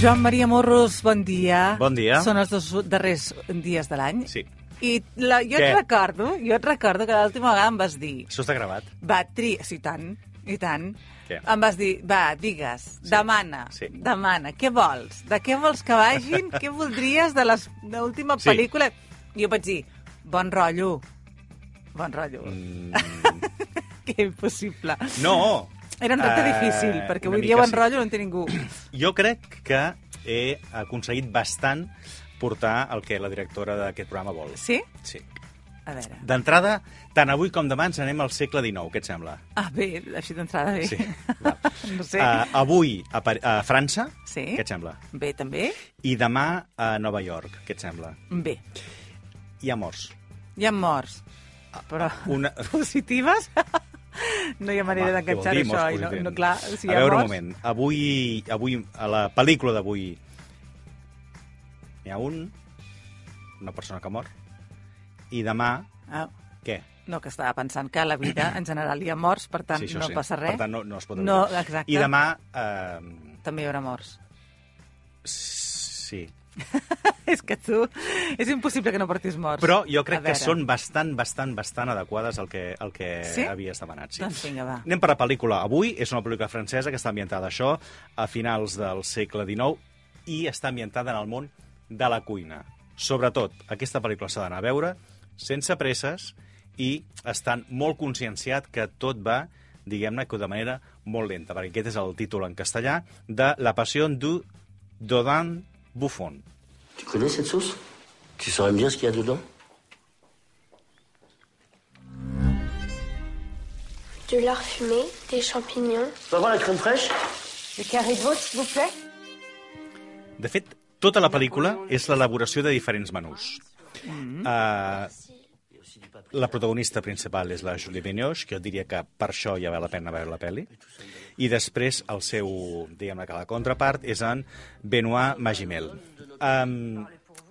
Joan Maria Morros, bon dia. Bon dia. Són els dos darrers dies de l'any. Sí. I la, jo Què? et recordo, jo et recordo que l'última vegada em vas dir, Això està gravat. va, tri... Sí, i tant, i tant. Què? Em vas dir, va, digues, Sí. demana, Sí. demana, què vols? De què vols que vagin? què voldries de les- de l'última Sí. pel·lícula? Jo vaig dir, bon rotllo, bon rotllo. Mm, Que impossible. no! Era un repte Eh, difícil, perquè una avui dia mica bon sí. rotllo no en té ningú. Jo crec que he aconseguit bastant portar el que la directora d'aquest programa vol. Sí? Sí. A veure. D'entrada, tant avui com demà ens anem al segle XIX, què et sembla? Ah, bé, així d'entrada bé. Sí, va. no sé. Eh, avui a, Pari- a França, Sí. què et sembla? Bé, també? I demà a Nova York, què et sembla? Bé. Hi ha morts. Hi ha morts, però Una... positives? No hi ha manera Home, d'enganxar què vol dir, això. molts i No, positius? no, clar, si hi a ha veure morts, un moment. Avui, avui a la pel·lícula d'avui, n'hi ha un, una persona que mor, i demà, Ah, què? no, que estava pensant que a la vida en general hi ha morts, per tant això no passa res. Per tant, no, no es pot No, evitar. exacte. I demà... Eh, També hi haurà morts. sí. és que tu... És impossible que no portis morts. Però jo A crec que veure. són bastant, bastant, bastant adequades al que, al que Sí? havies demanat. Sí? Doncs vinga, va. Anem per la pel·lícula. Avui és una pel·lícula francesa que està ambientada a això a finals del segle XIX i està ambientada en el món de la cuina. Sobretot, aquesta pel·lícula s'ha d'anar a veure sense presses i estan molt conscienciat que tot va, diguem-ne, que de manera molt lenta, perquè aquest és el títol en castellà de La passió du Dodin Buffon. Tu connais cette sauce Tu saurais me dire ce qu'il y a dedans Du lard fumé, des champignons. Ça va la crème fraîche Le carré de veau, s'il vous plaît De fet, tota la pel·lícula és l'elaboració de diferents menús. Mm -hmm. uh, la protagonista principal és la Julie Benioche, que jo diria que per això ja val la pena veure la pel·li. I després el seu, diguem-ne que la contrapart, és en Benoit Magimel. Um,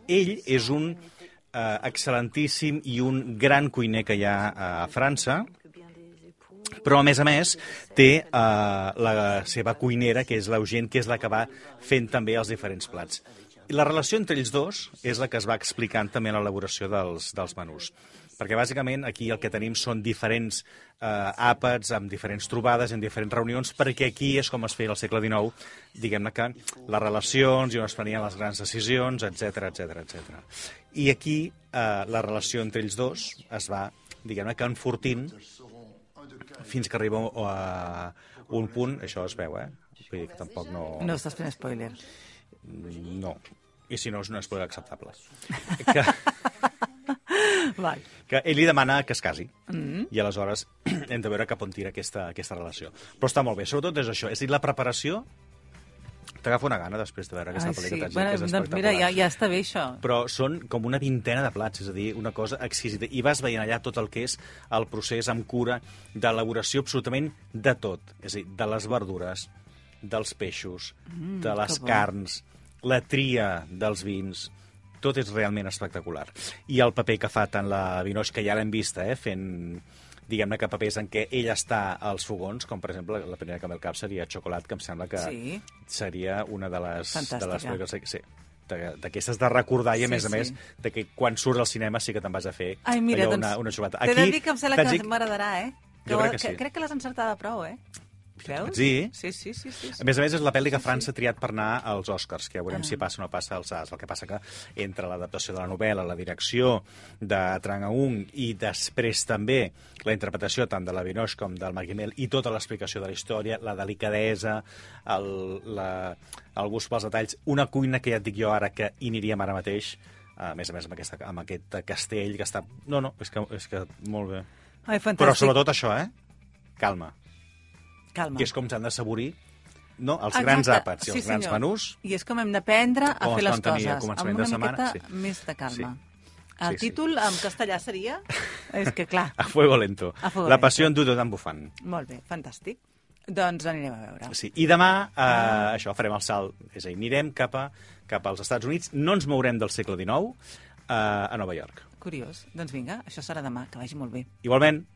ell és un uh, excel·lentíssim i un gran cuiner que hi ha eh, a França, però a més a més té eh, la seva cuinera, que és l'Eugène, que és la que va fent també els diferents plats. I La relació entre ells dos és la que es va explicant també en l'elaboració dels, dels menús. Perquè bàsicament aquí el que tenim són diferents eh, àpats, amb diferents trobades, en diferents reunions, perquè aquí és com es feia al segle XIX, diguem-ne que les relacions i on es prenien les grans decisions, etc etc etc. I aquí eh, la relació entre ells dos es va, diguem-ne que enfortint fins que arriba a un punt, això es veu, eh? Vull dir que tampoc no... No estàs fent spoiler. no. I si no, és una esposa acceptable. Que, Val. que ell li demana que es casi. Mm Mm-hmm. -hmm. I aleshores hem de veure cap on tira aquesta, aquesta relació. Però està molt bé. Sobretot és això. És a dir, la preparació... T'agafa una gana després de veure aquesta Ai, pel·lícula. sí. t'haig de dir Bueno, que és doncs mira, espectacular. ja, ja està bé, això. però són com una vintena de plats, és a dir, una cosa exquisita. I vas veient allà tot el que és el procés amb cura d'elaboració absolutament de tot. És a dir, de les verdures, dels peixos, mm, de les que bo. carns, la tria dels vins... Tot és realment espectacular. I el paper que fa tant la Vinoix, que ja l'hem vista, eh, fent diguem-ne que papers en què ell està als fogons, com per exemple la primera que m'he al cap seria Xocolat, que em sembla que Sí. seria una de les Fantàstica. de les pel·lícules que- sí, de- d'aquestes de recordar i a Sí, més a sí. més de que quan surts al cinema sí que te'n vas a fer Ai, mira, allò, doncs, una, una xubata. T'he de dir que em sembla t'haig que dit- m'agradarà, eh? Jo ho- crec que sí. crec que l'has encertada prou, eh? Creus? Sí. Sí, sí, sí. sí, A sí. més a més, és la pel·li que França ha triat per anar als Oscars, que ja veurem si passa o no passa als As. El que passa que entre l'adaptació de la novel·la, la direcció de Trang Aung i després també la interpretació tant de la Vinoche com del Maguimel i tota l'explicació de la història, la delicadesa, el, la, el gust pels detalls, una cuina que ja et dic jo ara que hi aniríem ara mateix, a més a més amb, aquesta, amb aquest castell que està... No, no, és que, és que molt bé. Ai, fantàstic. Però sobretot això, eh? Calma. Calma. Que és com s'han de saborir no? els Exacte. grans àpats i els sí, grans senyor. menús. I és com hem d'aprendre a Com fer es les van tenir a coses. Amb començament una de setmana, miqueta sí. més de calma. Sí. El Sí, sí. títol en castellà seria... és que, clar, A fuego lento. A fuego la lento. passió en dudo tan bufant. molt bé, fantàstic. Doncs anirem a veure. Sí. I demà, eh, Ah. això, farem el salt. És a dir, anirem cap, a, cap als Estats Units. No ens mourem del segle XIX eh, a Nova York. Curiós. Doncs vinga, això serà demà. Que vagi molt bé. Igualment,